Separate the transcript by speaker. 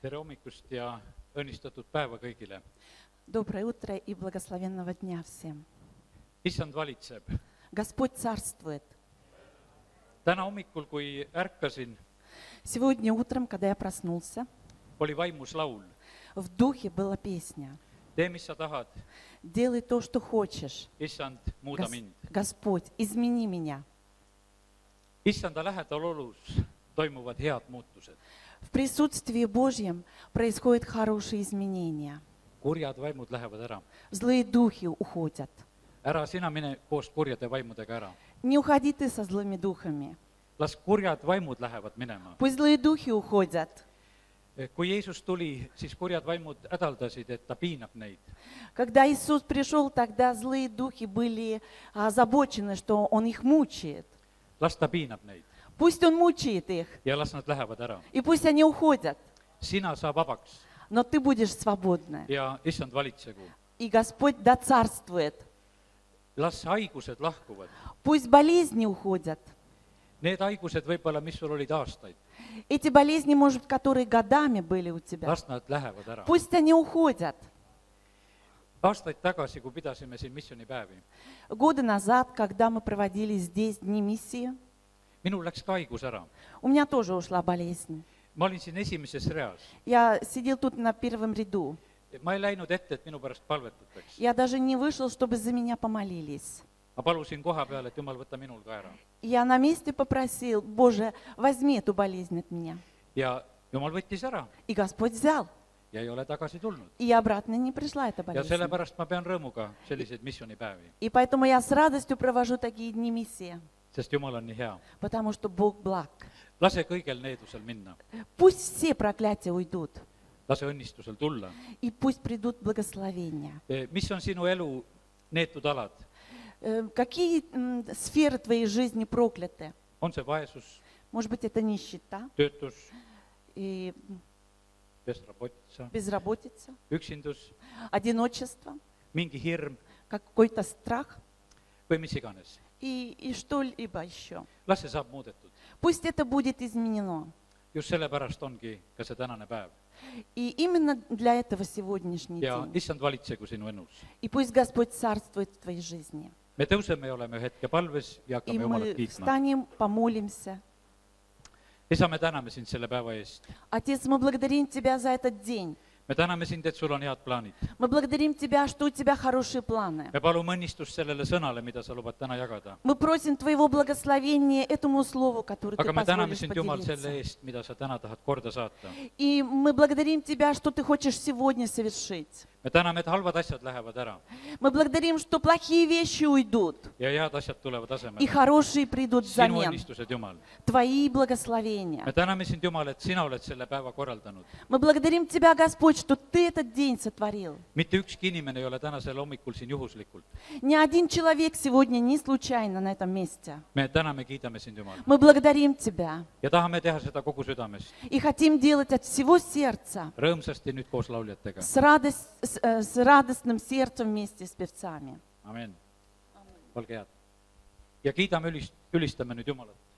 Speaker 1: tere hommikust ja õnnistatud päeva kõigile.
Speaker 2: Доброе утро и благословенного дня всем.
Speaker 1: issand valitseb.
Speaker 2: Господь царствует.
Speaker 1: täna hommikul, kui ärkasin,
Speaker 2: Сегодня утром, когда я проснулся,
Speaker 1: oli vaimus laul.
Speaker 2: в духе была песня
Speaker 1: tee, mis sa tahad,
Speaker 2: «Делай то, что хочешь,
Speaker 1: issand , muuda
Speaker 2: Гос-
Speaker 1: mind .
Speaker 2: Господь, измени меня».
Speaker 1: issanda lähedal olus toimuvad head muutused.
Speaker 2: В присутствии Божьем происходят хорошие изменения.
Speaker 1: kurjad vaimud lähevad ära.
Speaker 2: Злые духи уходят.
Speaker 1: ära sina mine koos kurjade vaimudega ära.
Speaker 2: Не уходи ты со злыми духами.
Speaker 1: las kurjad vaimud lähevad minema .
Speaker 2: Пусть злые духи уходят.
Speaker 1: kui Jeesus tuli , siis kurjad vaimud hädaldasid , et ta piinab neid .
Speaker 2: Когда Иисус пришел, тогда злые духи были а, озабочены, что Он их мучает.
Speaker 1: las ta piinab neid
Speaker 2: Пусть Он мучает их,
Speaker 1: ja las nad lähevad ära .
Speaker 2: и пусть они уходят.
Speaker 1: sina saa vabaks
Speaker 2: но ты будешь свободна.
Speaker 1: ja issand valitsegu
Speaker 2: И Господь да царствует.
Speaker 1: las haigused lahkuvad ,
Speaker 2: Пусть болезни уходят.
Speaker 1: need haigused võib-olla , mis sul olid aastaid ,
Speaker 2: Эти болезни, может, которые годами были у тебя,
Speaker 1: las nad lähevad ära .
Speaker 2: пусть они уходят.
Speaker 1: aastaid tagasi , kui pidasime siin missioonipäevi ,
Speaker 2: Годы назад, когда мы проводили здесь Дни миссии,
Speaker 1: minul läks ka haigus ära .
Speaker 2: у меня тоже ушла болезнь.
Speaker 1: ma olin siin esimeses reas ,
Speaker 2: Я сидел тут на первом ряду.
Speaker 1: ma ei läinud ette , et minu pärast palvetataks .
Speaker 2: Я даже не вышел, чтобы за меня помолились.
Speaker 1: ma palusin koha peal , et jumal , võta minul ka ära .
Speaker 2: Я на месте попросил, Боже, возьми эту болезнь от меня.
Speaker 1: ja jumal võttis ära
Speaker 2: И Господь взял.
Speaker 1: ja ei ole tagasi tulnud .
Speaker 2: И обратно не пришла эта
Speaker 1: ja
Speaker 2: болезнь.
Speaker 1: sellepärast ma pean rõõmuga selliseid missioonipäevi ,
Speaker 2: И поэтому я с радостью провожу такие дни миссии,
Speaker 1: sest jumal on nii hea .
Speaker 2: потому что Бог благ.
Speaker 1: lase kõigel needusel minna ,
Speaker 2: Пусть все проклятия уйдут,
Speaker 1: lase õnnistusel tulla .
Speaker 2: и pусть придут благословения.
Speaker 1: mis on sinu elu neetud alad ,
Speaker 2: Э, Какие м, сферы твоей жизни прокляты?
Speaker 1: on see vaesus ,
Speaker 2: Может быть, это нищета
Speaker 1: töötus
Speaker 2: и
Speaker 1: pesrapotsa ,
Speaker 2: безработица,
Speaker 1: üksindus ,
Speaker 2: одиночество,
Speaker 1: mingi hirm
Speaker 2: какой-то страх
Speaker 1: või mis iganes .
Speaker 2: и, и что-либо еще.
Speaker 1: las see saab muudetud .
Speaker 2: Пусть это будет изменено.
Speaker 1: just sellepärast ongi ka see tänane päev
Speaker 2: И именно для этого сегодняшний
Speaker 1: ja
Speaker 2: день.
Speaker 1: issand valitsegu sinu elus .
Speaker 2: И пусть Господь царствует в твоей жизни.
Speaker 1: me tõuseme ja oleme ühe hetke palves ja
Speaker 2: И
Speaker 1: hakkame Jumalat
Speaker 2: мы
Speaker 1: kiitma .
Speaker 2: встанем, помолимся,
Speaker 1: isa , me täname sind selle päeva eest .
Speaker 2: Отец, мы благодарим Тебя за этот день.
Speaker 1: me täname sind , et sul on head plaanid .
Speaker 2: Мы благодарим Тебя, что у Тебя хорошие планы.
Speaker 1: me palume õnnistust sellele sõnale , mida sa lubad täna jagada .
Speaker 2: Мы просим Твоего благословения этому слову, которое Ты
Speaker 1: aga me täname
Speaker 2: позволишь
Speaker 1: sind , Jumal , selle
Speaker 2: поделиться.
Speaker 1: eest , mida sa täna tahad korda saata .
Speaker 2: И мы благодарим Тебя, что Ты хочешь сегодня совершить.
Speaker 1: me täname , et halvad asjad lähevad ära
Speaker 2: Мы благодарим, что плохие вещи уйдут,
Speaker 1: ja head asjad tulevad
Speaker 2: и
Speaker 1: asemele .
Speaker 2: хорошие придут
Speaker 1: sinu
Speaker 2: взамен.
Speaker 1: õnnistused , Jumal .
Speaker 2: Твои
Speaker 1: me
Speaker 2: благословения.
Speaker 1: täname sind , Jumal , et sina oled selle päeva korraldanud .
Speaker 2: Мы благодарим Тебя, Господь, что Ты этот день сотворил.
Speaker 1: mitte ükski inimene ei ole tänasel hommikul siin juhuslikult .
Speaker 2: Ни один человек сегодня не случайно на этом месте.
Speaker 1: me täname , kiidame sind , Jumal ,
Speaker 2: Мы благодарим Тебя
Speaker 1: ja tahame teha seda kogu südamest ,
Speaker 2: и хотим делать от всего сердца
Speaker 1: rõõmsasti nüüd koos lauljatega .
Speaker 2: с, радость, с, э, с радостным сердцем вместе с певцами.
Speaker 1: amin . olge head . ja kiidame , ülist- , ülistame nüüd Jumalat .